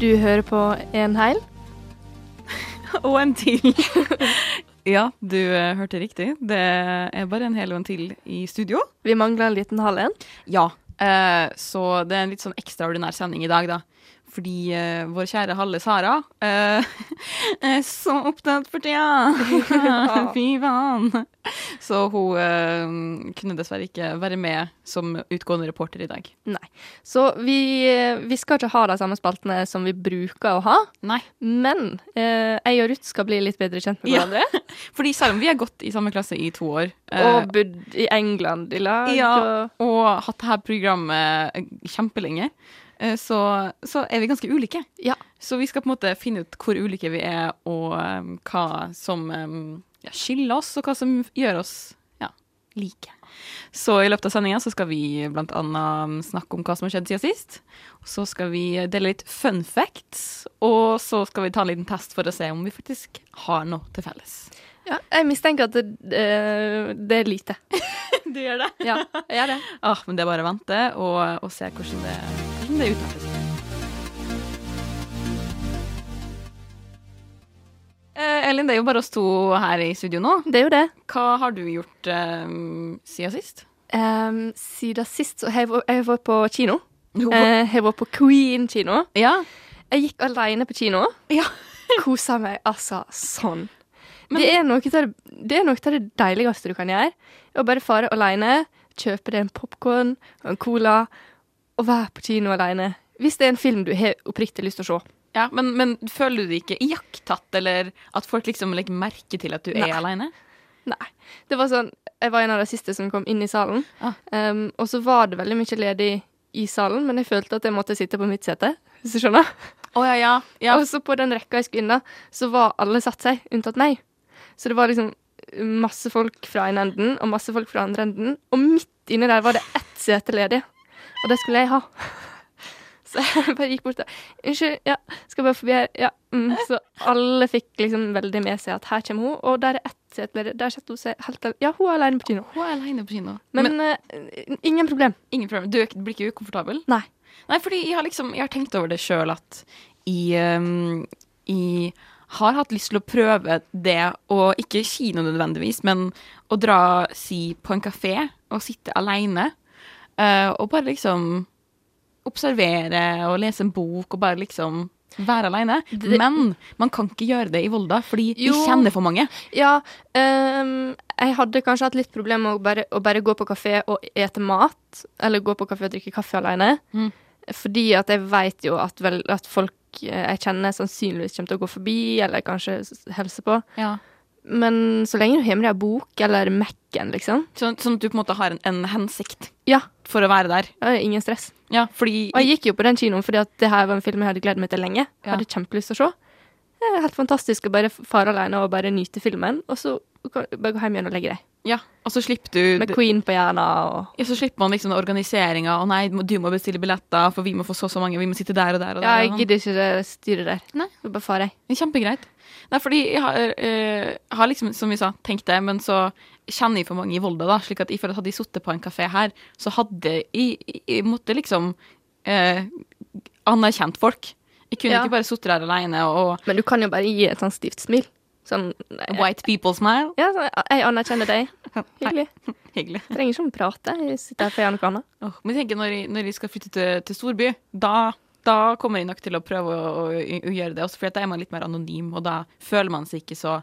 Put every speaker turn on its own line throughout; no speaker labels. Du hører på en heil.
Og en til. ja, du eh, hørte riktig. Det er bare en hel og en til i studio.
Vi mangler en liten halv en.
Ja. Eh, så det er en litt sånn ekstraordinær sending i dag, da. Fordi eh, vår kjære Halle Sara eh, er så opptatt for tida! Fy faen! Så hun eh, kunne dessverre ikke være med som utgående reporter i dag.
Nei. Så vi, vi skal ikke ha de samme spaltene som vi bruker å ha.
Nei.
Men eh, jeg og Ruth skal bli litt bedre kjent med
Ja.
hverandre.
Fordi selv om vi har gått i samme klasse i to år, eh,
Og bodd i England i lag.
Ja,
Og,
og hatt dette programmet kjempelenge, eh, så, så er vi ganske ulike.
Ja.
Så vi skal på en måte finne ut hvor ulike vi er, og eh, hva som eh, ja, skiller oss, og hva som gjør oss ja, like. Så i løpet av sendinga så skal vi blant annet snakke om hva som har skjedd siden sist. Og så skal vi dele litt fun facts, og så skal vi ta en liten test for å se om vi faktisk har noe til felles.
ja, jeg mistenker at det, eh, det er lite.
Du gjør det?
Ja, jeg gjør det.
Ah, men det er bare å vente og, og se hvordan det, hvordan det utvikler seg. Eh, Elin, det er jo bare oss to her i studio nå.
Det er jo det.
Hva har du gjort eh, siden sist?
Um, siden sist så har jeg vært- jeg har vært på kino.
Jo.
Eh, Jeg har vært på Queen kino.
ja.
Jeg gikk alene på kino.
ja.
Kosa meg altså sånn.
Men-
det, er noe av det, det er noe av det deiligste du kan gjøre. Å bare fare alene, kjøpe deg en popkorn og en cola og være på kino alene. Hvis det er en film du har oppriktig lyst til å se.
ja men, men føler du deg ikke iakttatt, eller at folk liksom legger merke til at du
Nei.
er alene?
Nei. Det var sånn, jeg var en av de siste som kom inn i salen.
Ah.
Um, og så var det veldig mye ledig i salen, men jeg følte at jeg måtte sitte på mitt sete. Hvis du skjønner?
Å ja, ja. ja.
Og så på den rekka jeg skulle inn, da, så var alle satt seg, unntatt meg. Så det var liksom masse folk fra en enden og masse folk fra andre enden. Og midt inni der var det ett sete ledig, og det skulle jeg ha. Så jeg bare gikk bort og Unnskyld, ja, skal bare forbi her. Ja. Mm. Så alle fikk liksom veldig med seg at her kommer hun, og der er ett sete ledig. Der setter hun seg helt alene. Ja, hun er alene på kino.
Hun er alene på kino. Men,
Men, eh, ingen problem.
ingen problem. Du er ikke- blir ikke ukomfortabel?
Nei.
Nei, fordi jeg har liksom Jeg har tenkt over det sjøl at jeg, ehm, jeg har hatt lyst til å prøve det, og ikke kino nødvendigvis, men å dra si på en kafé og sitte aleine eh, og bare liksom observere og lese en bok og bare liksom være aleine.
Det-
Men man kan ikke gjøre det i Volda, fordi vi
Jo.
kjenner for mange.
Ja, ehm, jeg hadde kanskje hatt litt problemer med å bare, å bare gå på kafé og ete mat, eller gå på kafé og drikke kaffe alene.
Mm.
Fordi at jeg vet jo at, vel, at folk eh, jeg kjenner sannsynligvis kommer til å gå forbi, eller kanskje s- helse på.
Ja.
Men så lenge du har med deg bok eller Mac-en, liksom,
Sånn, sånn at du på en måte har en, en hensikt
ja,
for å være der.
da er det ingen stress.
Ja, fordi
Og jeg gikk jo på den kinoen fordi at det her var en film jeg hadde gledet meg til lenge.
Ja.
Hadde kjempelyst til å se. Det er helt fantastisk å bare fare alene og bare nyte filmen, og så kan- bare gå hjem igjen og legge deg.
Ja, og så slipper du
Med Queen på hjernen og
Ja, så slipper man liksom organiseringa. Å nei, du må bestille billetter, for vi må få så og så mange. Vi må sitte der og der og
Ja,
der.
jeg gidder ikke det styret der.
Nei.
Det er bare farer jeg.
Det er Kjempegreit. Nei, fordi jeg har, eh, har liksom, som vi sa, tenkt det, men så kjenner jeg for mange i Volda, da. Slik at jeg føler at hadde jeg sittet på en kafé her, så hadde jeg, jeg, jeg måtte liksom eh, anerkjent folk. Jeg kunne
Ja.
ikke bare sittet der alene og
Men du kan jo bare gi et sånn stivt smil. Sånn nei.
white people smile.
Ja, sånn, jeg anerkjenner deg. Hyggelig.
Hyggelig.
Trenger ikke å prate. Jeg sitter her for å gjøre noe annet.
Åh, men jeg tenker når jeg, når jeg skal flytte til, til storby, da, da kommer jeg nok til å prøve å, å, å gjøre det. Også fordi at da er man litt mer anonym, og da føler man seg ikke så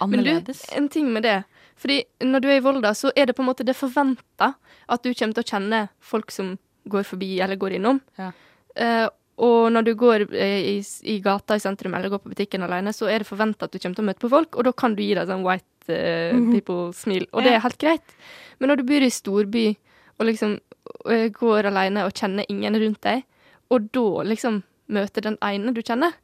Men du,
annerledes.
en ting med det. Fordi når du er i Volda, så er det på en måte det forventa at du kommer til å kjenne folk som går forbi eller går innom.
Ja.
Eh, og når du går eh, i, s- i gata i sentrum eller går på butikken alene, så er det forventa at du kommer til å møte på folk, og da kan du gi deg sånn white eh, people-smil, og det
Mhm. Ja.
er helt greit. Men når du bor i storby og liksom eh, går alene og kjenner ingen rundt deg, og da liksom møter den ene du kjenner,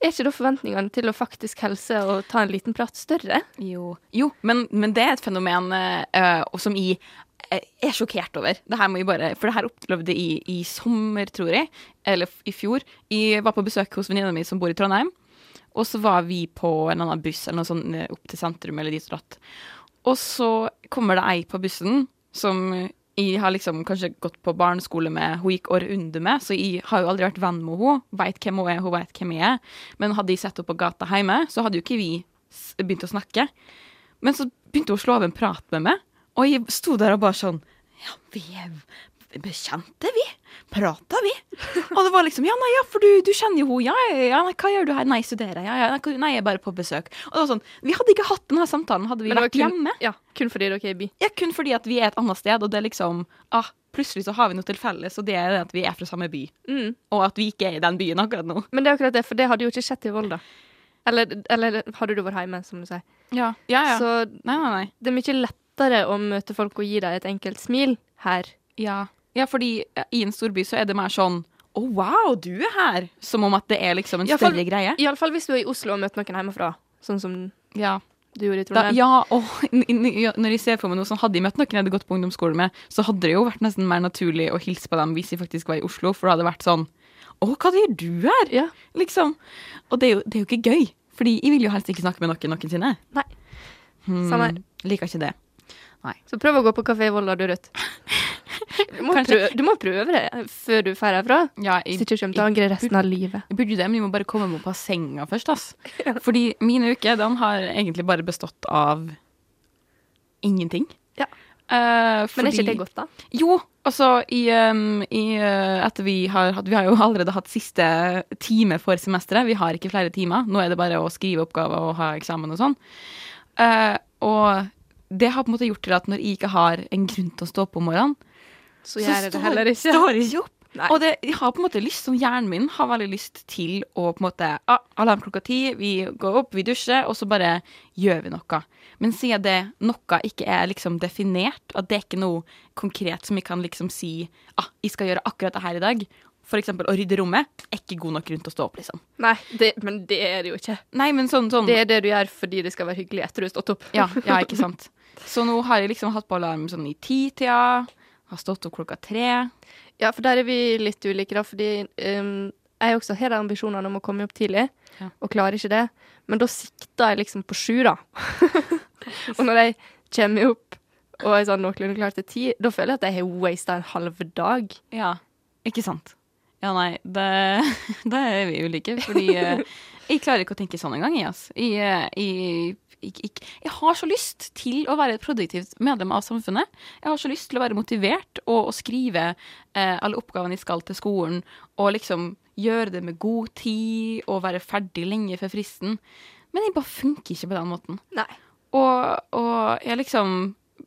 er ikke da forventningene til å faktisk helse og ta en liten prat større?
Jo, jo men, men det er et fenomen eh, eh, og som jeg eh, er sjokkert over. Det her må jeg bare, for det her opplevde jeg i sommer, tror jeg, eller f- i fjor. Jeg var på besøk hos venninna mi som bor i Trondheim, og så var vi på en annen buss eller noe sånt eh, opp til sentrum eller dit og datt. Og så kommer det ei på bussen som jeg har liksom kanskje gått på barneskole med hun gikk året under med, så jeg har jo aldri vært venn med henne. Veit hvem hun er, hun veit hvem jeg er. Men hadde jeg sett henne på gata hjemme, så hadde jo ikke vi s- begynt å snakke. Men så begynte hun å slå av en prat med meg, og jeg sto der og bare sånn Ja, vi er bekjente, vi. Prata vi? Og det var liksom Ja, nei, ja, for du, du kjenner jo henne. Ja, ja, ja, nei, hva gjør du her? Nei, studerer. Ja, ja, nei, nei, jeg er bare på besøk. Og det var sånn Vi hadde ikke hatt denne samtalen, hadde vi
Men det var
vært
kun,
hjemme.
ja, kun fordi dere er i by.
Ja, kun fordi at vi er et annet sted, og det er liksom ah, Plutselig så har vi noe til felles, og det er det at vi er fra samme by.
Mm.
Og at vi ikke er i den byen akkurat nå.
Men det er akkurat det, for det hadde jo ikke skjedd i Volda. Eller, eller hadde du vært hjemme, som du sier.
Ja, ja,
Så
nei, nei, nei.
det er mye lettere å møte folk og gi dem et enkelt smil her.
Ja. ja, fordi eh, i en storby så er det mer sånn Å, wow, du er her! Som om at det er liksom en
Ja, for-
større greie.
Iallfall hvis du er i Oslo og møter noen hjemmefra, sånn som
Ja.
du gjorde i
Da,
Trondheim.
ja, og n- n- ja, når jeg ser for meg noe sånn, hadde jeg møtt noen jeg hadde gått på ungdomsskole med, så hadde det jo vært nesten mer naturlig å hilse på dem hvis jeg faktisk var i Oslo, for det hadde vært sånn Å, hva gjør du her?
Ja.
Liksom. Og det er, jo, det er jo ikke gøy, fordi jeg vil jo helst ikke snakke med noen noensinne.
Nei.
Hmm,
Samme her.
Liker ikke det.
Så prøv å gå på kafé i Volda, du, Ruth. Du må, prøve,
Kanskje-
du må prøve det før du drar herfra.
Ja,
Hvis
jeg,
ikke du kommer til å angre resten av livet.
jeg burde jo det, men jeg må bare komme meg på senga først, ass. Fordi min uke, den har egentlig bare bestått av ingenting.
Ja.
Eh,
Men er
fordi-
ikke det godt, da?
Jo, altså i, ehm, i eh, etter vi har hatt Vi har jo allerede hatt siste time for semesteret. Vi har ikke flere timer. Nå er det bare å skrive oppgaver og ha eksamen og sånn. Eh, og det har på en måte gjort til at når jeg ikke har en grunn til å stå opp om morgenen,
Så gjør jeg det
står-
heller ikke.
står jeg ikke opp.
Nei.
Og det, jeg har på en måte lyst, som hjernen min har veldig lyst til å på en måte ah, Alarm klokka ti, vi går opp, vi dusjer, og så bare gjør vi noe. Men siden det noe ikke er liksom definert, at det er ikke noe konkret som jeg kan liksom si ah, jeg skal gjøre akkurat det her i dag, f.eks. å rydde rommet, er ikke god nok grunn til å stå opp, liksom.
Nei, det, men det er det jo ikke.
Nei, men sånn, sånn
Det er det du gjør fordi det skal være hyggelig etter du har stått opp.
Ja, ja, ikke sant. Så nå har jeg liksom hatt på alarm sånn i titida, har stått opp klokka tre.
Ja, for der er vi litt ulike, da. Fordi ehm, jeg også har de ambisjonene om å komme opp tidlig,
Ja.
og klarer ikke det. Men da sikter jeg liksom på sju, da. og når jeg kommer opp og er sånn noenlunde klar til ti, da føler jeg at jeg har wasta en halv dag.
Ja, ikke sant. Ja, nei, det, da er vi ulike, fordi eh, jeg klarer ikke å tenke sånn engang, jeg, altså. Jeg, eh, jeg, jeg, jeg, jeg har så lyst til å være et produktivt medlem av samfunnet. Jeg har så lyst til å være motivert og, og skrive eh, alle oppgavene jeg skal til skolen, og liksom gjøre det med god tid, og være ferdig lenge før fristen. Men jeg bare funker ikke på den måten.
Nei.
Og, og jeg liksom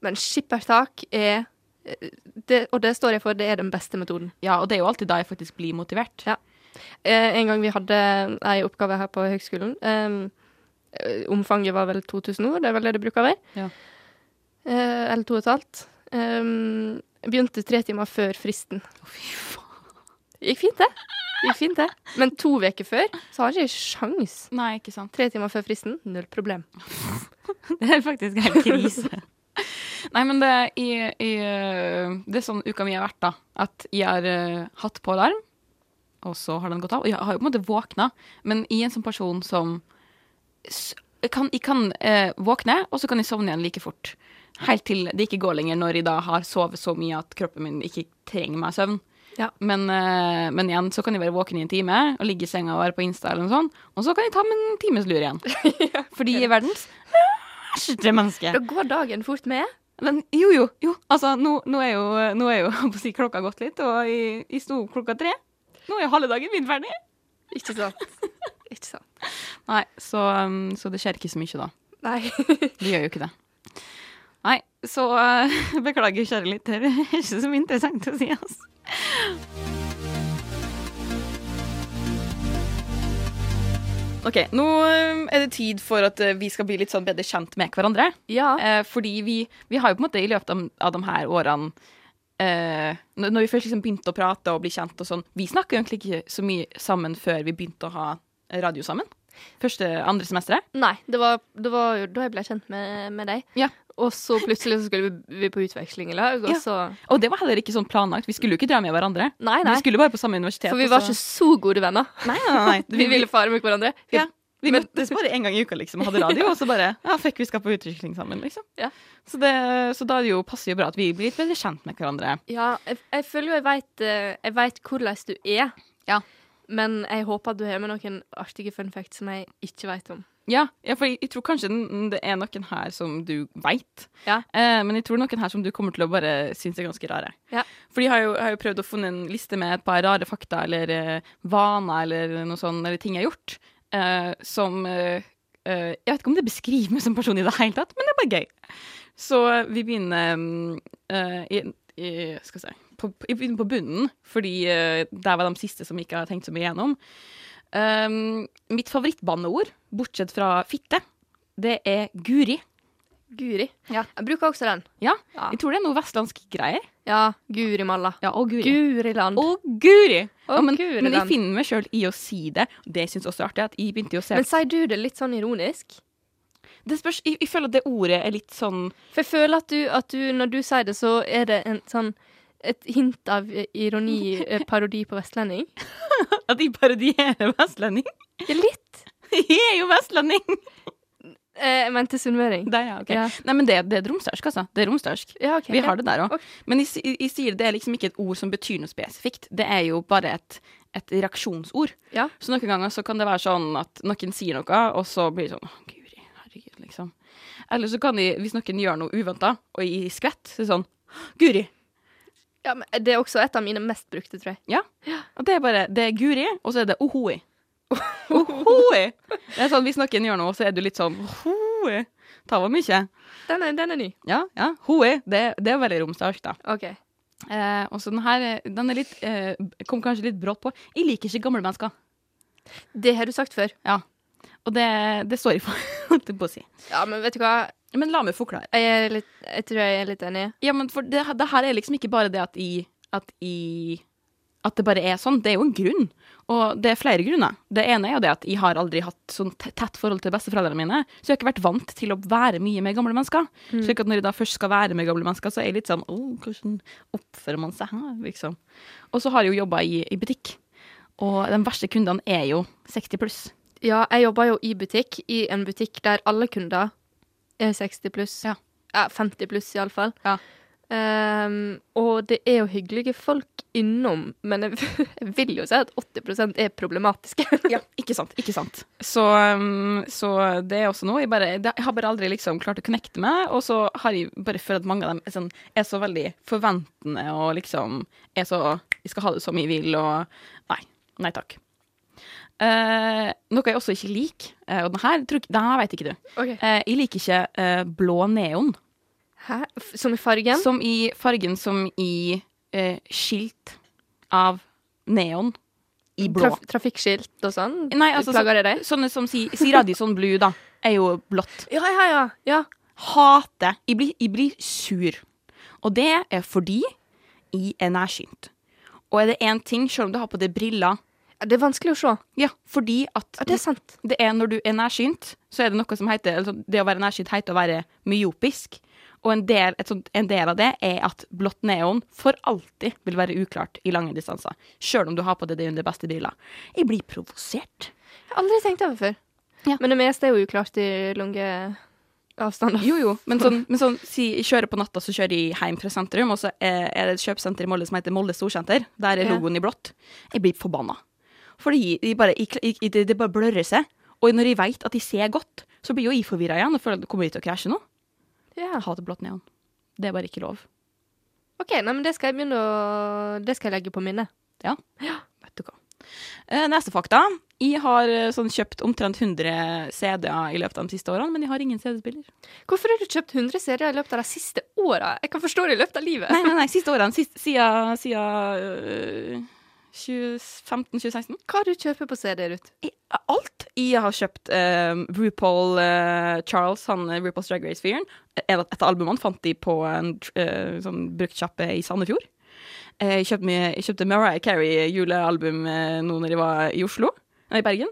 Men skippertak er eh, det, Og det står jeg for, det er den beste metoden.
Ja, og det er jo alltid da jeg faktisk blir motivert.
Eh, en gang vi hadde ei oppgave her på høgskolen. eh, omfanget var vel 2000 ord, det er vel det det bruker å være.
Ja.
Eh, eller to og et halvt. Um, begynte tre timer før fristen.
Å, fy faen.
Gikk fint, det. Gikk fint det. Men to uker før så har jeg ikke sjans.
Nei, ikke sant.
Tre timer før fristen, null problem.
Det er faktisk helt krise. Nei, men det, i, i, øh, det er sånn uka mi har vært, da. At jeg har øh, hatt på alarm, og så har den gått av. Og jeg har jo på en måte våkna, men i en sånn person som s- jeg kan, jeg kan øh, våkne, og så kan jeg sovne igjen like fort. Helt til det ikke går lenger, når jeg da har sovet så mye at kroppen min ikke trenger meg søvn.
Ja.
Men, øh, men igjen, så kan jeg være våken i en time og ligge i senga og være på Insta, eller noe sånt, og så kan jeg ta meg en times lur igjen. Fordi i verdens verste menneske.
Da går dagen fort med.
Men jo, jo, jo. Altså, nå, nå er jo, nå er jo holdt på å si, klokka gått litt, og jeg, jeg sto opp klokka tre. Nå er jo halve dagen min ferdig.
Ikke sant? Ikke sant.
Nei, så, um, så det skjer ikke så mye, da.
Nei.
Det gjør jo ikke det. Nei, så eh, beklager, kjære lytter. Det er ikke så mye interessant å si, altså. Ok, nå um, er det tid for at eh, vi skal bli litt sånn bedre kjent med hverandre.
Ja.
Eh, fordi vi, vi har jo på en måte i løpet av, av de her årene eh, Når når vi først liksom begynte å prate og bli kjent og sånn Vi snakka egentlig ikke så mye sammen før vi begynte å ha radio sammen. Første, andre semesteret.
Nei, det var, det var jo da jeg ble kjent med, med deg.
Ja.
Og så plutselig så skulle vi, vi på utveksling i lag, og
Ja.
så
Og det var heller ikke sånn planlagt. Vi skulle jo ikke dra med hverandre.
Nei, nei.
Vi skulle bare på samme universitet.
For vi
og
var
så-
ikke så gode venner.
Nei, nei, nei.
Vi ville fare med hverandre. Vi
Ja. Vi møttes bare én gang i uka, liksom, og hadde radio, og så bare ja, fikk vi skape utvikling sammen, liksom.
Ja.
Så, det, så da er det jo, passer jo bra at vi blir litt bedre kjent med hverandre.
Ja, jeg, jeg føler jo jeg vet, eh, jeg vet hvordan du er.
Ja.
Men jeg håper at du har med noen artige fun facts som jeg ikke vet om.
Ja, ja for jeg, jeg tror kanskje den- det er noen her som du veit,
Ja.
eh, men jeg tror noen her som du kommer til å bare synes er ganske rare.
Ja.
For jeg har jo, jeg har jo prøvd å finne en liste med et par rare fakta eller eh, vaner eller noe sånt, eller ting jeg har gjort, eh, som eh, eh, Jeg vet ikke om det beskriver meg som person i det hele tatt, men det er bare gøy. Så eh, vi begynner mm, eh, i, i, Skal vi se på, på- Jeg begynner på bunnen, fordi eh, der var de siste som jeg ikke har tenkt så mye igjennom. Um, mitt favorittbanneord, bortsett fra fitte, det er guri.
Guri.
Ja.
Jeg bruker også den.
Ja,
Ja.
jeg tror det er noe vestlandsk greier.
Ja, Gurimalla.
Ja, og guri.
Guriland.
Og guri!
Å,
Ja, men,
guri
men jeg
land.
finner meg sjøl i å si det. Det syns også er artig. at Jeg begynte jo å se
Men sier du det litt sånn ironisk?
det spørs, jeg, jeg føler at det ordet er litt sånn
For jeg føler at du, at du når du sier det, så er det en sånn et hint av eh, ironi, eh, parodi på vestlending.
At jeg parodierer vestlending.
Ja, litt.
Jeg er jo vestlending!
Eh, Jeg mente sunnmøring.
Det er jeg, ok.
Ja.
Nei, men det, det er romsdalsk, altså. Det er romsdalsk.
Ja, ok.
Vi har det der òg.
Ok.
Men jeg, si- jeg sier det er liksom ikke et ord som betyr noe spesifikt. Det er jo bare et, et reaksjonsord.
Ja.
Så noen ganger så kan det være sånn at noen sier noe, og så blir det sånn «Å, Guri, herregud, liksom. Eller så kan de, hvis noen gjør noe uventa, og jeg skvett, så er det sånn «Å, Guri!
Ja, men det er også et av mine mest brukte, tror jeg.
Ja. Og det er bare Det er Guri, og så er det ohoi. Ohoi! Det er sånn hvis noen gjør noe, så er du litt sånn ohoi. Ta var mye.
Den er, den er ny.
Ja, ja. Hoi. Det, det er veldig romsdalsk, da.
OK.
Eh, og så den her, eh, den er litt, eh, kom kanskje litt brått på. Jeg liker ikke gamle mennesker.
Det har du sagt før.
Og det, det står jeg for, holdt jeg på å si.
Ja, men vet du hva?
Men la meg forklare.
Jeg, er litt, jeg tror jeg er litt enig.
Ja, men for det, det her er liksom ikke bare det at i, at i At det bare er sånn. Det er jo en grunn. Og det er flere grunner. Det ene er jo det at jeg har aldri hatt sånn te- tett forhold til besteforeldrene mine. Så jeg har ikke vært vant til å være mye med gamle mennesker. Så ikke at når jeg da først skal være med gamle mennesker, så er jeg litt sånn Åh, hvordan oppfører man seg her, liksom. Og så har jeg jo jobba i, i butikk. Og de verste kundene er jo 60 pluss.
Ja, jeg jobber jo i butikk, i en butikk der alle kunder er 60 pluss.
Ja.
50 pluss, iallfall.
Ja.
Um, og det er jo hyggelige folk innom, men jeg, jeg vil jo si at 80 er problematiske.
Ja, ikke sant. ikke sant. Så, um, så det er også noe. Jeg, bare, det- jeg har bare aldri liksom klart å connecte med, og så har jeg bare følt at mange av dem er, sånn, er så veldig forventende og liksom er så Jeg skal ha det som jeg vil, og Nei. Nei takk. Eh, noe jeg også ikke liker, eh, og den her, tror, ikke- den her vet ikke du. Eh, jeg liker ikke eh, blå neon,
Hæ? F- Som i fargen?
som i fargen som i eh, skilt av neon i blå.
Traf trafikkskilt og sånn?
Nei, altså,
Plager det deg?
Sånne som sier si Radisson Blue, da, er jo blått.
Ja, ja, ja. ja.
Hater. Jeg blir, jeg blir sur. Og det er fordi jeg er nærsynt. Og er det én ting, selv om du har på deg briller
Ja, Det er vanskelig å se.
Ja, fordi at
Ja, det er sant.
det er når du er nærsynt, så er det noe som heter altså Det å være nærsynt heter å være myopisk. Og en del, et sånt, en del av det er at blått neon for alltid vil være uklart i lange distanser. Sjøl om du har på deg de under beste briller. Jeg blir provosert.
Jeg har aldri tenkt over før.
Ja.
Men det meste er jo uklart i lange avstander.
Jo, jo, men sånn, men sånn si, jeg kjører på natta, så kjører jeg hjem fra sentrum, og så er er det et kjøpesenter i Molde som heter Molde Storsenter. Der er
Ja.
logoen i blått. Jeg blir forbanna. For det, gir- de bare, jeg, jeg, jeg- det, det bare blørrer seg. Og når jeg veit at de ser godt, så blir jo jeg forvirra igjen og føler at det kommer de til å krasje nå.
Ja.
Jeg hater blått neon. Det er bare ikke lov.
OK, nei, men det skal jeg begynne å Det skal jeg legge på minnet.
Vet du hva. Eh, Neste fakta. Jeg har eh, sånn, kjøpt omtrent 100 CD-er i løpet av de siste årene, men jeg har ingen CD-spiller.
Hvorfor har du kjøpt 100 serier i løpet av de siste åra? Jeg kan forstå det i løpet av livet.
Nei, nei, nei, siste årene. Sist, siden siden eh, 2015-2016.
Hva du kjøper på CD, Ruth?
I- Alt. Jeg har kjøpt eh, RuPaul eh, Charles, han eh, RuPaul's Drag Race-fyren. eh, Et av albumene fant de på en tr- eh, sånn bruktsjappe i Sandefjord. Eh, jeg, kjøpte mye, jeg kjøpte Mariah Carey-julealbum eh, nå når jeg var i Oslo, nei, i Bergen.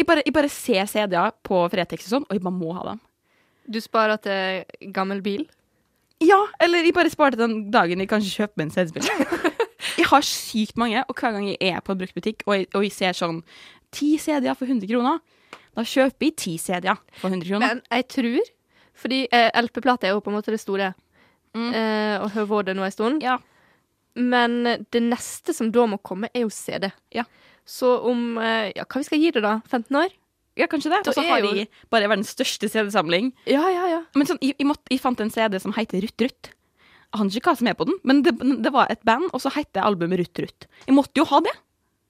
Jeg bare, jeg bare ser CD-er på Fretex og sånn, og jeg bare må ha dem.
Du sparer til gammel bil.
Ja, eller jeg bare sparte den dagen jeg kanskje kjøper meg en CD-spiller. jeg har sykt mange, og hver gang jeg er på en bruktbutikk og, jeg- og jeg ser sånn ti CD-er for 100 kroner, Da kjøper vi ti CD-er for 100 kroner.
Men jeg tror Fordi eh, LP-plate er jo på en måte det store,
Mm.
eh, og har vært det nå en stund.
Ja.
Men det neste som da må komme, er jo CD.
Ja.
Så om eh, Ja, hva vi skal gi det, da? 15 år?
ja, kanskje det.
Da
Og så
er
har
jo-
de bare verdens største CD-samling.
Ja, ja, ja.
Men sånn, jeg, jeg, måtte, jeg fant en CD som heter Rutt Rutt. Jeg aner ikke hva som er på den, men det, det var et band, og så heter albumet Rutt Rutt. Jeg måtte jo ha det!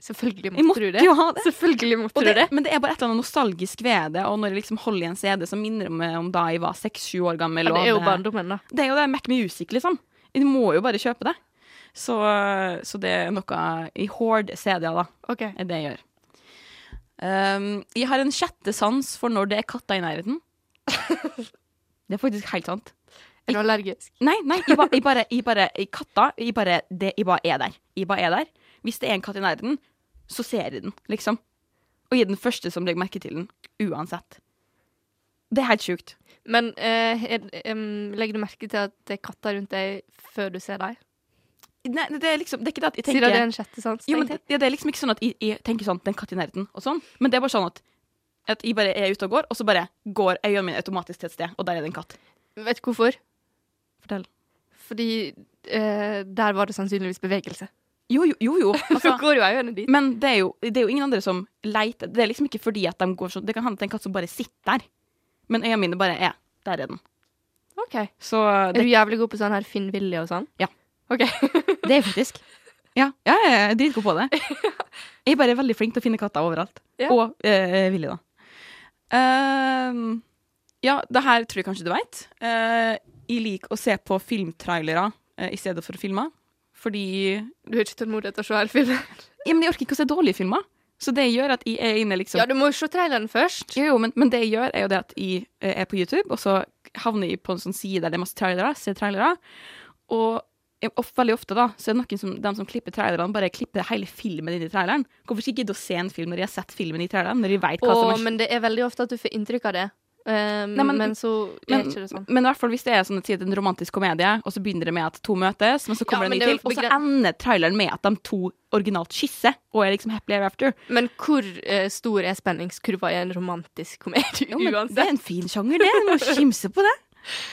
Selvfølgelig
Jeg
måtte,
måtte
du det.
jo ha det.
Selvfølgelig måtte
Og
du
det,
det.
men det er bare et eller annet nostalgisk ved det, og når jeg liksom holder i en CD som minner meg om da jeg var seks-sju år gammel.
Ja, det
og
er jo
hadde-
barndommen, da.
Det er jo det Mac Music, liksom. Du må jo bare kjøpe det. Så, så det er noe i hård CD-er, da,
OK.
er det jeg gjør. Um, jeg har en sjette sans for når det er katter i nærheten. Det er faktisk helt sant.
Er du allergisk?
Nei, nei, jeg bare, jeg bare, jeg bare jeg Katta, jeg bare, det, jeg bare er der. Jeg bare er der. Hvis det er en katt i nærheten, så ser jeg den, liksom. Og jeg er den første som legger merke til den, uansett. Det er helt sjukt.
Men eh, er, em, legger du merke til at det er katter rundt deg før du ser dem?
Nei, det er liksom, det er ikke det at jeg tenker
Siden det er en sjette sans?
Jo, men
tenkte jeg.
det, ja, det er liksom ikke sånn at jeg, jeg tenker sånn, den katt i nærheten, og sånn. Men det er bare sånn at, at jeg bare er ute og går, og så bare går øynene mine automatisk til et sted, og der er det en katt.
Vet du hvorfor?
Fortell.
Fordi eh, der var det sannsynligvis bevegelse.
Jo, jo, jo, jo.
Så
Altså,
går jo øynene dit.
men det er, jo, det er jo ingen andre som leiter. Det er liksom ikke fordi at de går sånn. Det kan hende at det er en katt som bare sitter der. Men øynene mine bare er, der er den.
OK. Er
Så
du
det,
jævlig god på sånn her Finn Willy og sånn?
Ja.
OK.
det er faktisk. Ja, ja, ja, jeg er dritgod på det. Jeg er bare veldig flink til å finne katter overalt.
Ja.
Og eh, Willy, da. Ehm, ja, det her tror jeg kanskje du veit. Eh, jeg liker å se på filmtrailere eh, i stedet for filmer. Fordi
Du har ikke tålmodighet til å se hele filmen?
ja, men Jeg orker ikke å se dårlige filmer. Så det gjør at jeg er inne liksom
Ja, du må jo se traileren først.
Jo, jo, men, men det jeg gjør, er jo det at jeg eh, er på YouTube, og så havner jeg på en sånn side der det er masse trailere, ser trailere. Og jeg- of, veldig ofte da, så er det noen som, de som klipper trailerne, bare klipper hele filmen inn i traileren. Hvorfor skal jeg gidde å se en film når jeg har sett filmen i traileren? Når jeg vet hva
Og,
som er
men det er veldig ofte at du får inntrykk av det. Um,
Nei, men-
men, så er
men,
ikke det sånn.
men i hvert fall hvis det er sånn at, si at en romantisk komedie, og så begynner det med at to møtes, men så kommer
Ja,
det
men
en ny
det er
til, og
jo
så
begre-
ender traileren med at de to originalt kysser, og er liksom happily ever after.
Men hvor eh, stor er spenningskurva i en romantisk komedie?
Jo, men det
uansett.
er en fin sjanger, det. Du må skimse på det.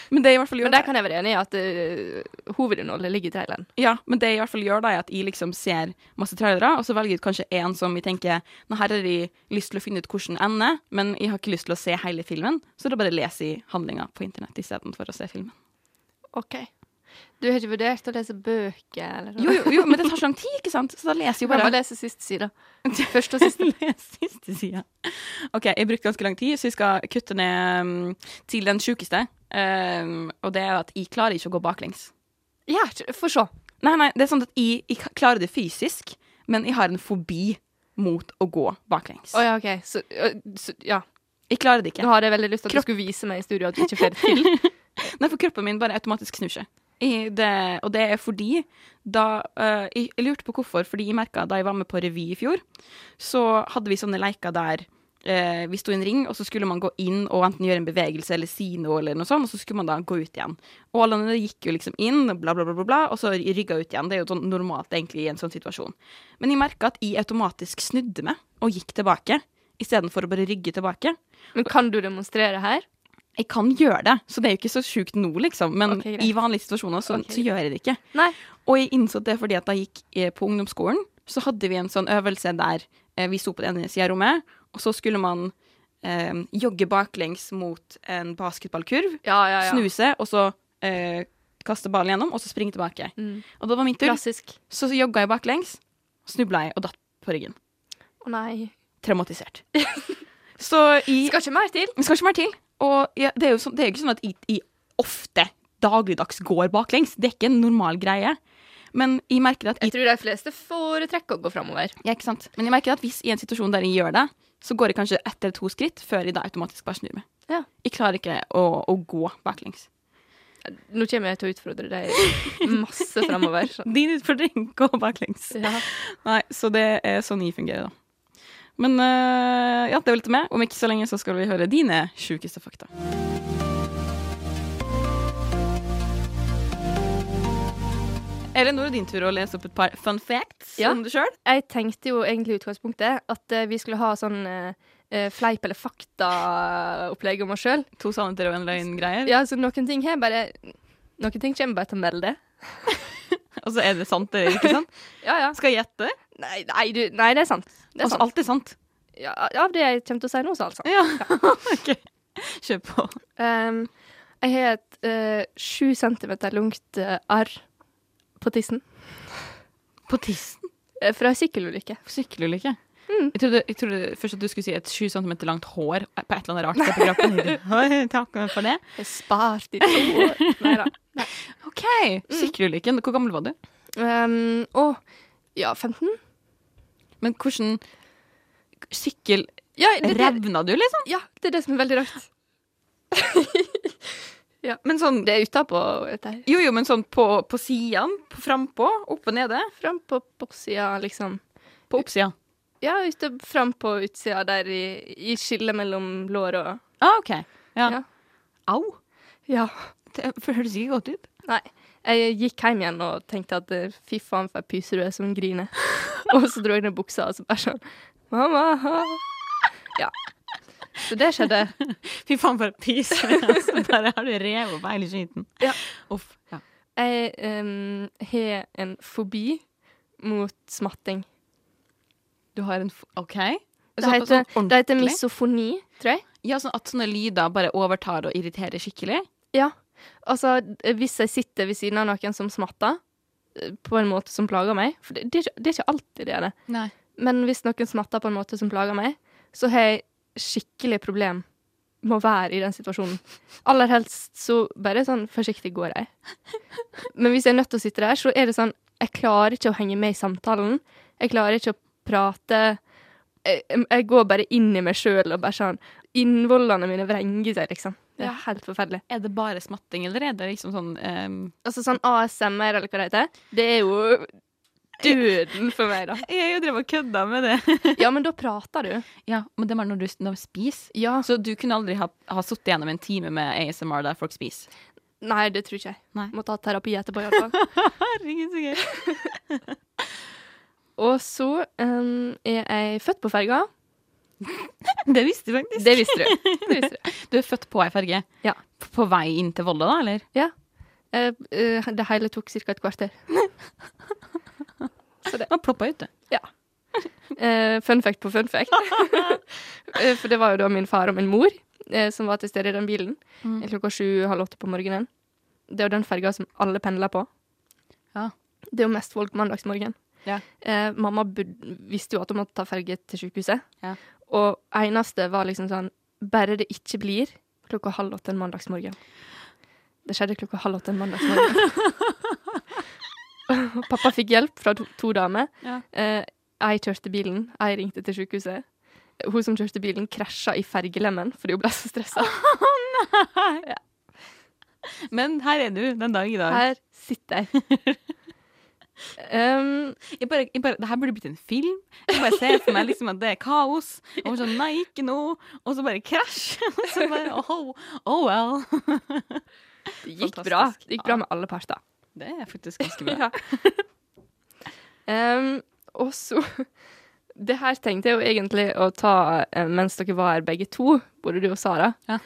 Men det er i hvert fall
Men der kan jeg være enig i at eh, hovedinnholdet ligger i traileren.
Ja, men det jeg i hvert fall gjør da, er at jeg liksom ser masse trailere, og så velger jeg ut kanskje en som jeg tenker Nå her har jeg lyst til å finne ut hvordan ender, men jeg har ikke lyst til å se hele filmen, så da bare leser jeg handlinga på internett istedenfor å se filmen.
OK. Du har ikke vurdert å lese bøker eller noe?
Jo, jo, jo, men det tar så lang tid, ikke sant? Så da leser jeg
Du kan bare
bare
lese siste side. Første og siste.
Les siste sida. OK, jeg brukte ganske lang tid, så jeg skal kutte ned mm, til den sjukeste. Um, og det er at jeg klarer ikke å gå baklengs.
Ja, få se.
Nei, nei, det er sånn at jeg, jeg klarer det fysisk, men jeg har en fobi mot å gå baklengs.
Å ja, OK. Så, ø, så ja.
Jeg klarer det ikke.
Nå hadde jeg veldig lyst til at
Kropp-
du skulle vise meg i studio at du ikke får det til.
Nei, for kroppen min bare automatisk snur seg. I det, og det er fordi da eh, jeg, jeg lurte på hvorfor, fordi jeg merka da jeg var med på revy i fjor, så hadde vi sånne leker der eh, vi sto i en ring, og så skulle man gå inn og enten gjøre en bevegelse eller si noe, eller noe sånt, og så skulle man da gå ut igjen. Og alle andre gikk jo liksom inn, bla, bla, bla, bla, bla og så rygga ut igjen. Det er jo sånn normalt egentlig i en sånn situasjon. Men jeg merka at jeg automatisk snudde meg og gikk tilbake, istedenfor å bare rygge tilbake.
Men kan du demonstrere her?
Jeg kan gjøre det, så det er jo ikke så sjukt nå, liksom. Men
Ok, greit.
i vanlige situasjoner så,
Ok.
så gjør jeg det ikke.
Nei.
Og jeg innså det fordi at da jeg gikk eh, på ungdomsskolen, så hadde vi en sånn øvelse der eh, vi sto på den ene sida av rommet, og så skulle man eh, jogge baklengs mot en basketballkurv,
Ja, ja, ja.
snuse, og så eh, kaste ballen gjennom, og så springe tilbake.
Mm.
Og da var min tur.
Klassisk.
Så jogga jeg baklengs, snubla jeg og datt på ryggen.
Å nei.
Traumatisert. så i
Skal ikke mer til?
det skal ikke mer til. Og ja, det, er jo sånn, det er jo ikke sånn at jeg, jeg ofte dagligdags går baklengs. Det er ikke en normal greie. Men jeg merker at
Jeg
jeg,
tror de fleste foretrekker å gå framover.
ja, ikke sant? Men jeg merker at hvis i en situasjon der jeg gjør det, så går jeg kanskje ett eller to skritt før jeg da automatisk bare snur meg.
Ja.
Jeg klarer ikke å, å gå baklengs.
Nå kommer jeg til å utfordre deg masse framover.
Din utfordring gå baklengs.
Ja.
Nei, så det er sånn jeg fungerer, da. Men øh, ja, det var litt med. Om ikke så lenge så skal vi høre dine sjukeste fakta. Eller nå er det din tur å lese opp et par fun facts
Ja.
om deg sjøl.
Jeg tenkte jo egentlig i utgangspunktet at eh, vi skulle ha sånn eh, eh, fleip- eller fakta-opplegg om oss sjøl.
To sannheter og en løgn-greier.
Ja, så noen ting har bare Noen ting kommer bare til å melde.
Og så er det sant, det er ikke sant?
Ja, ja.
Skal jeg gjette?
Nei, nei, du, nei det er sant. Det er
Altså,
sant.
alt er sant.
Ja, av det jeg kommer til å si nå, så altså. er alt sant.
Ja, ok. Kjør på.
Ehm, jeg har et eh, sju centimeter langt eh, arr på tissen
På tissen? Mm.
eh, fra en sykkelulykke.
Sykkelulykke. Jeg, trodde, jeg trodde først at du skulle si et 7 cm langt hår på et eller annet rart. sted på kroppen. Oi, Takk for det.
Jeg har spart i to år. Nei da.
OK, sykkelulykken. Hvor gammel var du?
Ehm, å, ja, 15?
Men hvordan Sykkel
Ja
Eh,
det, det,
Revna du, liksom?
ja, det er det som er veldig rart.
Men sånn
Det er utapå dette her.
Jo, jo, men sånn på, på sidene, på frampå, opp og nede.
Fram på baksida, liksom.
På oppsida.
Ja, ute, fram på utsida der i, i skillet mellom lår og
Ah, OK. Ja.
Ja.
Au.
Ja.
Det høres ikke godt ut.
Nei. Jeg gikk hjem igjen og tenkte at eh, fy faen for ei pyse du er som griner. og så dro jeg ned buksa og så bare sånn Mamma! ha». Ja. Så det skjedde.
Fy faen, for en pyse. altså, bare har du revet opp hele skiten.
Ja.
Uff. Ja.
Jeg em, har en fobi mot smatting.
Du har en f OK.
Det
Så-
heter,
sånn
det heter
ordentlig?
misofoni, tror jeg.
Ja, sånn at sånne lyder bare overtar og irriterer skikkelig.
Ja. Altså, d- hvis jeg sitter ved siden av noen som smatter, eh, på en måte som plager meg For det, det, er, ikke, det er ikke alltid det er det.
Nei.
Men hvis noen smatter på en måte som plager meg, så har jeg skikkelig problem med å være i den situasjonen. Aller helst så bare sånn forsiktig går jeg. Men hvis jeg er nødt til å sitte der, så er det sånn Jeg klarer ikke å henge med i samtalen. Jeg klarer ikke å prate. Jeg, jeg går bare inn i meg sjøl og bare sånn Innvollene mine vrenger seg, liksom. Det er
Ja.
helt forferdelig.
Er det bare smatting, eller er det liksom sånn ehm,
Altså sånn ASMR, eller hva det heter, det er jo døden for meg, da.
Jeg har jo drevet og kødda med det.
Ja, men da prater du.
Ja, men det er bare når du, når du spiser.
Ja.
Så du kunne aldri ha, ha sittet gjennom en time med ASMR der folk spiser?
Nei, det tror ikke jeg.
Nei.
Må ta terapi etterpå, iallfall.
Herregud, så gøy.
Og så em, er jeg født på ferga.
Det visste du faktisk.
Det visste du. Det visste du.
Du er født på ei ferge?
Ja.
P- På vei inn til Volda, da, eller?
Ja. Eh, eh, det hele tok ca. et kvarter.
Og ploppa ut, du.
Ja. Eh, fun fact på fun fact. Eh, For det var jo da min far og min mor eh, som var til stede i den bilen
Mm.
klokka sju-halv åtte på morgenen. Det er jo den ferga som alle pendler på.
Ja.
Det er jo mest folk mandagsmorgen.
Ja.
Eh, mamma bud- visste jo at hun måtte ta ferge til sykehuset.
Ja.
Og eneste var liksom sånn Bare det ikke blir klokka halv åtte en mandagsmorgen. Det skjedde klokka halv åtte en mandagsmorgen. Og Pappa fikk hjelp fra to, to damer.
Ja.
Eh, jeg kjørte bilen, jeg ringte til sykehuset. Hun som kjørte bilen, krasja i fergelemmen fordi hun ble så stressa.
Men her er du den dag i dag.
Her sitter jeg. Um,
Jeg bare, jeg bare, det her burde blitt en film. Jeg bare ser for meg liksom at det er kaos. Og sånn, nei, ikke noe. Og så bare krasj. Og så bare, oh, oh well.
det gikk
Fantastisk.
bra. Det gikk bra med alle parter.
Det er faktisk ganske
Ja.
bra.
um, og så Det her tenkte jeg jo egentlig å ta eh, mens dere var her begge to, både du og Sara.
Ja.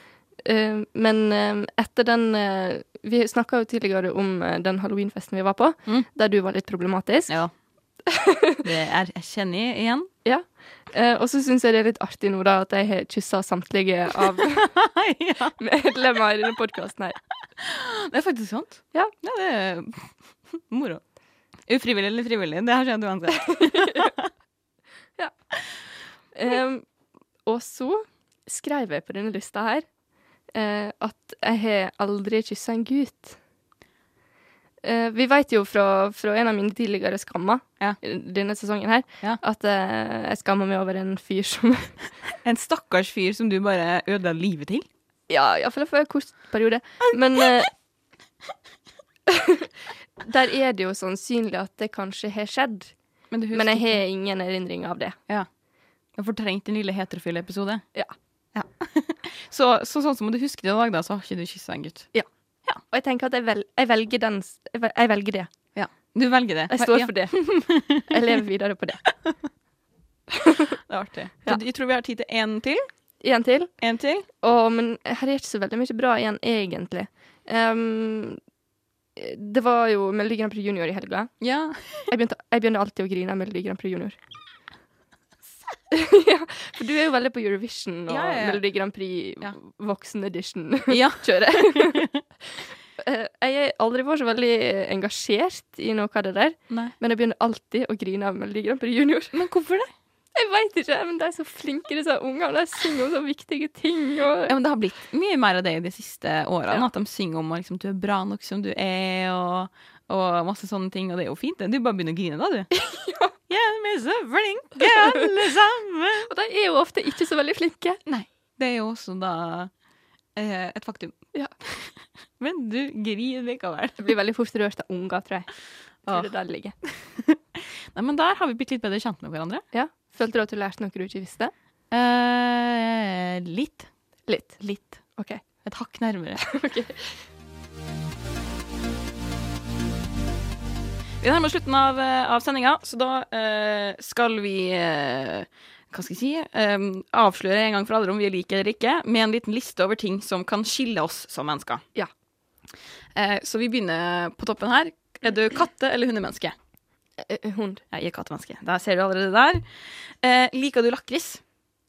Um, men um, etter den eh, Vi snakka jo tidligere om eh, den halloweenfesten vi var på,
Mm.
der du var litt problematisk.
Ja. Det er, jeg kjenner igjen.
Eh, og så syns jeg det er litt artig nå, da, at jeg har kyssa samtlige av
ja.
medlemmer i denne podkasten her.
Det er faktisk sant.
Ja.
det er moro. Ufrivillig eller frivillig, det har skjedd uansett.
Ehm, og så skrev jeg på denne lista her eh, at jeg har aldri kyssa en gutt. Eh, vi vet jo fra, fra en av mine tidligere skammer
Ja.
i denne sesongen her,
Ja.
at eh, jeg skammer meg over en fyr som
En stakkars fyr som du bare ødela livet til.
Ja, iallfall for en kort periode. Men eh, Der er det jo sannsynlig at det kanskje har skjedd,
Men du
men jeg har ingen erindring av det.
Jeg har fortrengt den lille heterofile episode.
Ja.
så, så sånn som du husker det i dag, da, så har ikke du kyssa en gutt.
Og jeg tenker at jeg, vel, jeg velger den s- jeg vel- Jeg velger det.
Du velger det.
Jeg står
Ja.
for det. Jeg lever videre på det.
Det er artig.
Ja.
Jeg tror vi har tid til én til.
En til.
En til.
Å, men her er ikke så veldig mye bra igjen, egentlig. Ehm, det var jo Melodi Grand Prix Junior i helga.
Ja.
Jeg begynte, jeg begynner alltid å grine av Melodi Grand Prix Junior. ja, for du er jo veldig på Eurovision og
Ja, ja, ja.
Melodi Grand Prix
Ja.
voksen edition
Ja.
kjøret. Eh, jeg har aldri vært så veldig engasjert i noe av det der,
Nei.
men jeg begynner alltid å grine av Melodi Grand Prix Junior.
Men hvorfor det?
Jeg veit ikke, men de er så flinke, disse ungene. De synger om så viktige ting. Og
Ja, men Det har blitt mye mer av det i de siste årene.
Ja.
At de synger om at liksom, du er bra nok som du er, og, og masse sånne ting. Og det er jo fint. det. Du bare begynner å grine da, du. ja. vi er så flinke alle sammen.
Og de er jo ofte ikke så veldig flinke.
Nei. Det er jo også da eh, et faktum.
Ja.
Men du griner likevel.
Jeg blir veldig fort rørt av unger, tror jeg. Jeg Tror det er der det ligger.
Nei, men der har vi blitt litt bedre kjent med hverandre.
Ja. Følte du at du lærte noe du ikke visste?
Eh, litt.
Litt.
Litt.
OK.
Et hakk nærmere.
Ok.
Vi nærmer oss slutten av, eh, av sendinga, så da eh, skal vi eh, hva skal jeg si, eh, avsløre en gang for alle om vi liker eller ikke, med en liten liste over ting som kan skille oss som mennesker.
Ja.
Eh, så vi begynner på toppen her. Er du katte- eller hundemenneske?
Eh, Hund.
Jeg er kattemenneske. Der ser du allerede der. Eh, liker du lakris?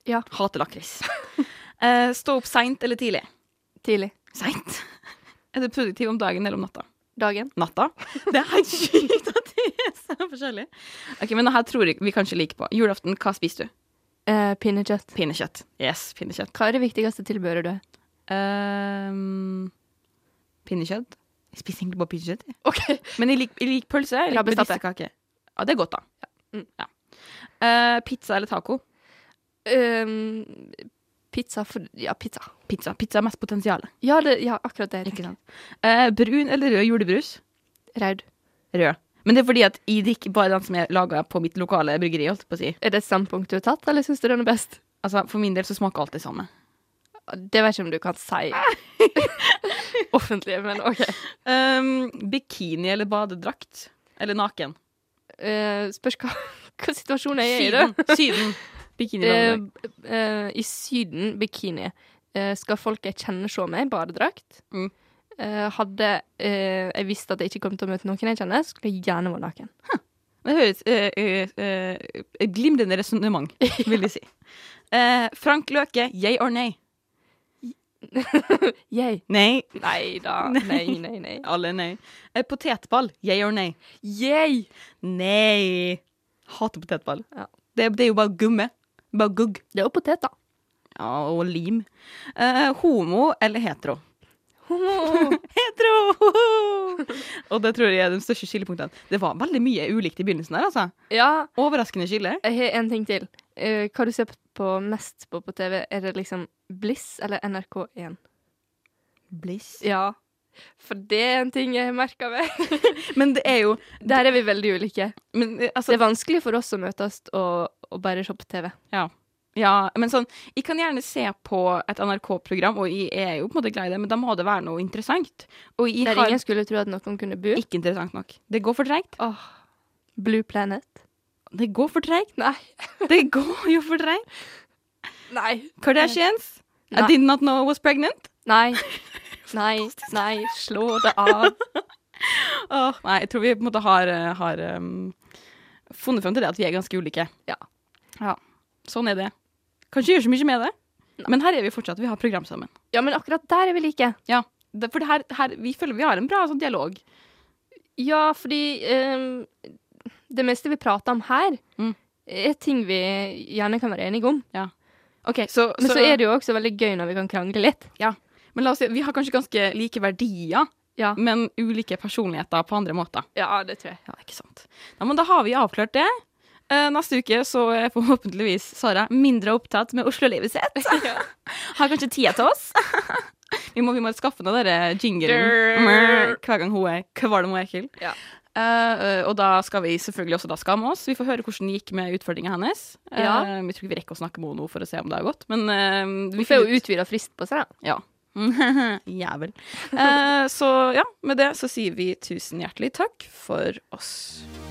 Ja.
Hater lakris. eh, stå opp seint eller tidlig?
Tidlig.
Seint. Er du produktiv om dagen eller om natta?
Dagen.
natta. Det er helt sykt at det er så forskjellig. Ok, men det her tror jeg vi kanskje liker på. Julaften, hva spiser du?
Eh, pinnekjøtt.
Pinnekjøtt. Yes, pinnekjøtt.
Hva er det viktigste tilbehøret du har?
Ehm, pinnekjøtt? Jeg spiser egentlig bare pinnekjøtt. jeg.
OK.
Men jeg liker, jeg liker pølse. Jeg liker
Krabbestappe.
medisterkake. Ja, det er godt, da.
Mm.
Ja. Eh, pizza eller taco?
Um, pizza for Ja, pizza.
Pizza. Pizza har mest potensial.
Ja, det, ja akkurat det.
Ikke sant? Eh, brun eller rød julebrus?
Raud.
Rød. Men det er fordi at jeg drikker bare den som er laga på mitt lokale bryggeri. holdt jeg på å si.
Er det et standpunkt du har tatt, eller syns du den er best?
Altså, For min del så smaker alt det samme.
Det vet jeg ikke om du kan si offentlig, men OK.
Um, bikini eller badedrakt? Eller naken?
Eh, spørs hva, hva situasjonen jeg er i, da.
Syden. Syden. Ehm, Bikini eller
Eh,
badedrakt.
eh, I Syden, bikini, eh, skal folk jeg kjenner se meg i badedrakt.
Mm.
Eh, hadde eh, jeg visst at jeg ikke kom til å møte noen jeg kjenner, skulle jeg gjerne vært naken.
Det høres eh, eh, eh, et glimrende resonnement, vil jeg si. Eh, Frank Løke, yay or nay?
Yay.
Nei.
Nei da. Nei, nei, nei.
Alle er nei. Eh, potetball, yay or nay?
Yay!
Nei. Hater potetball.
Ja.
Det, det er jo bare gumme. Bare gugg.
Det er jo potet, da.
Ja, og lim. Eh, homo eller hetero?
Homo.
Hetero! og det tror jeg er de største skillepunktene. Det var veldig mye ulikt i begynnelsen her, altså.
ja,
Overraskende skille.
jeg har en ting til. Eh, hva du ser på mest på på TV, er det liksom Bliss eller NRK1?
Bliss.
Ja. For det er en ting jeg har merka meg.
Men det er jo
Der er vi veldig ulike.
men, eh,
Det
altså,
er vanskelig for oss å møtes og, og bare se på TV.
Ja, men sånn Jeg kan gjerne se på et NRK-program, og jeg er jo på en måte glad i det, men da må det være noe interessant. Og jeg
Der
har
ingen skulle tro at noen kunne bo.
ikke interessant nok. Det går for treigt.
Åh, Blue Planet.
Det går for treigt.
Nei.
Det går jo for treigt.
Nei.
Kardashians. I
Nei.
did not know I was pregnant.
Nei. Nei. Nei. Slå det av.
Åh, nei, jeg tror vi på en måte har, eh, har um, funnet frem til det at vi er ganske ulike.
Ja.
Ja. Sånn er det. Kanskje gjør så mye med det. Men her er vi fortsatt. Vi har program sammen.
Ja, men akkurat der er vi like.
Ja, det, for det her, her, vi føler vi har en bra sånn dialog.
Ja, fordi ehm, det meste vi prater om her,
Mm.
er ting vi gjerne kan være enige om.
Ok, så,
Men så, er det jo også veldig gøy når vi kan krangle litt.
men la oss si, vi har kanskje ganske like verdier,
Ja.
men ulike personligheter på andre måter.
Ja, det tror jeg.
Ja, ikke sant. Nei, men da har vi avklart det. Eh, Neste uke så er forhåpentligvis Sara mindre opptatt med Oslo-livet sitt. Har kanskje tida til oss. Vi må, vi må skaffe noe av denne jingelen
Grrr.
hver gang hun er kvalm og ekkel.
Ja.
Eh, eh, og da skal vi selvfølgelig også da skamme oss. Vi får høre hvordan det gikk med utfordringa hennes. Eh,
Ja.
vi tror ikke vi rekker å snakke med henne nå for å se om det har gått, men eh,
Vi
vi
får
finner ut.
jo utvida frist på seg, da.
Ja. Jævel. Eh, så ja, med det så sier vi tusen hjertelig takk for oss.